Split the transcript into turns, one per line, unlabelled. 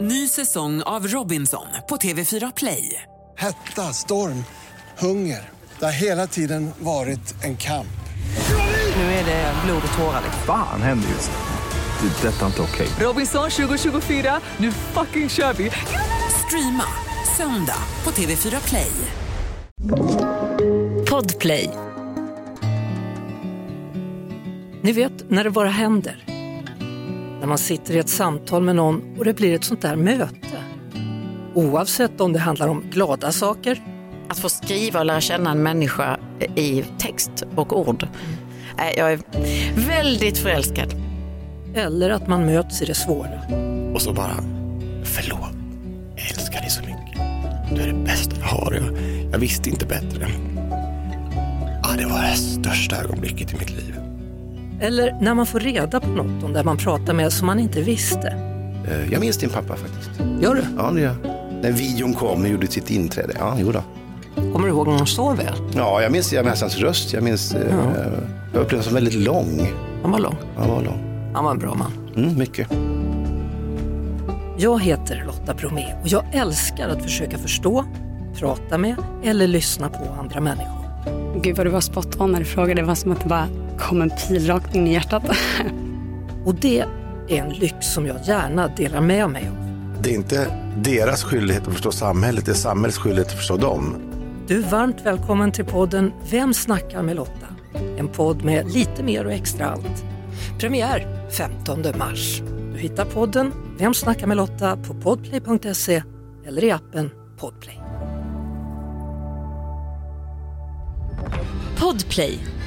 Ny säsong av Robinson på TV4 Play.
Hetta, storm, hunger. Det har hela tiden varit en kamp.
Nu är det blod och tårar.
Fan händer just nu. Det. är Detta är inte okej.
Robinson 2024, nu fucking kör vi! Streama söndag på TV4 Play.
Podplay. Ni vet när det bara händer. När man sitter i ett samtal med någon och det blir ett sånt där möte. Oavsett om det handlar om glada saker
Att få skriva och lära känna en människa i text och ord. Nej, Jag är väldigt förälskad.
eller att man möts i det svåra.
Och så bara, förlåt, jag älskar dig så mycket. Du är det bästa jag har. Jag, jag visste inte bättre. Ja, det var det största ögonblicket i mitt liv.
Eller när man får reda på något om det man pratar med som man inte visste.
Eh, Jag minns din pappa faktiskt.
Gör du?
Ja, det gör jag. När videon kom och gjorde sitt inträde. Ja, jo då.
Kommer du ihåg när de sov väl?
Ja, jag minns, jag minns hans röst. Jag minns... eh, Jag upplevde honom som väldigt lång.
Han var lång.
Han var lång.
Han var en bra man.
Mm, mycket.
Jag heter Lotta Bromé och jag älskar att försöka förstå, prata med eller lyssna på andra människor.
Gud vad du var spot on när du frågade. Det var som att det bara kom en pil rakt in i hjärtat.
Och det är en lyx som jag gärna delar med mig av.
Det är inte deras skyldighet att förstå samhället, det är samhällets skyldighet att förstå dem.
Du är varmt välkommen till podden Vem snackar med Lotta? En podd med lite mer och extra allt. Premiär 15 mars. Du hittar podden Vem snackar med Lotta på podplay.se eller i appen Podplay.
Podplay,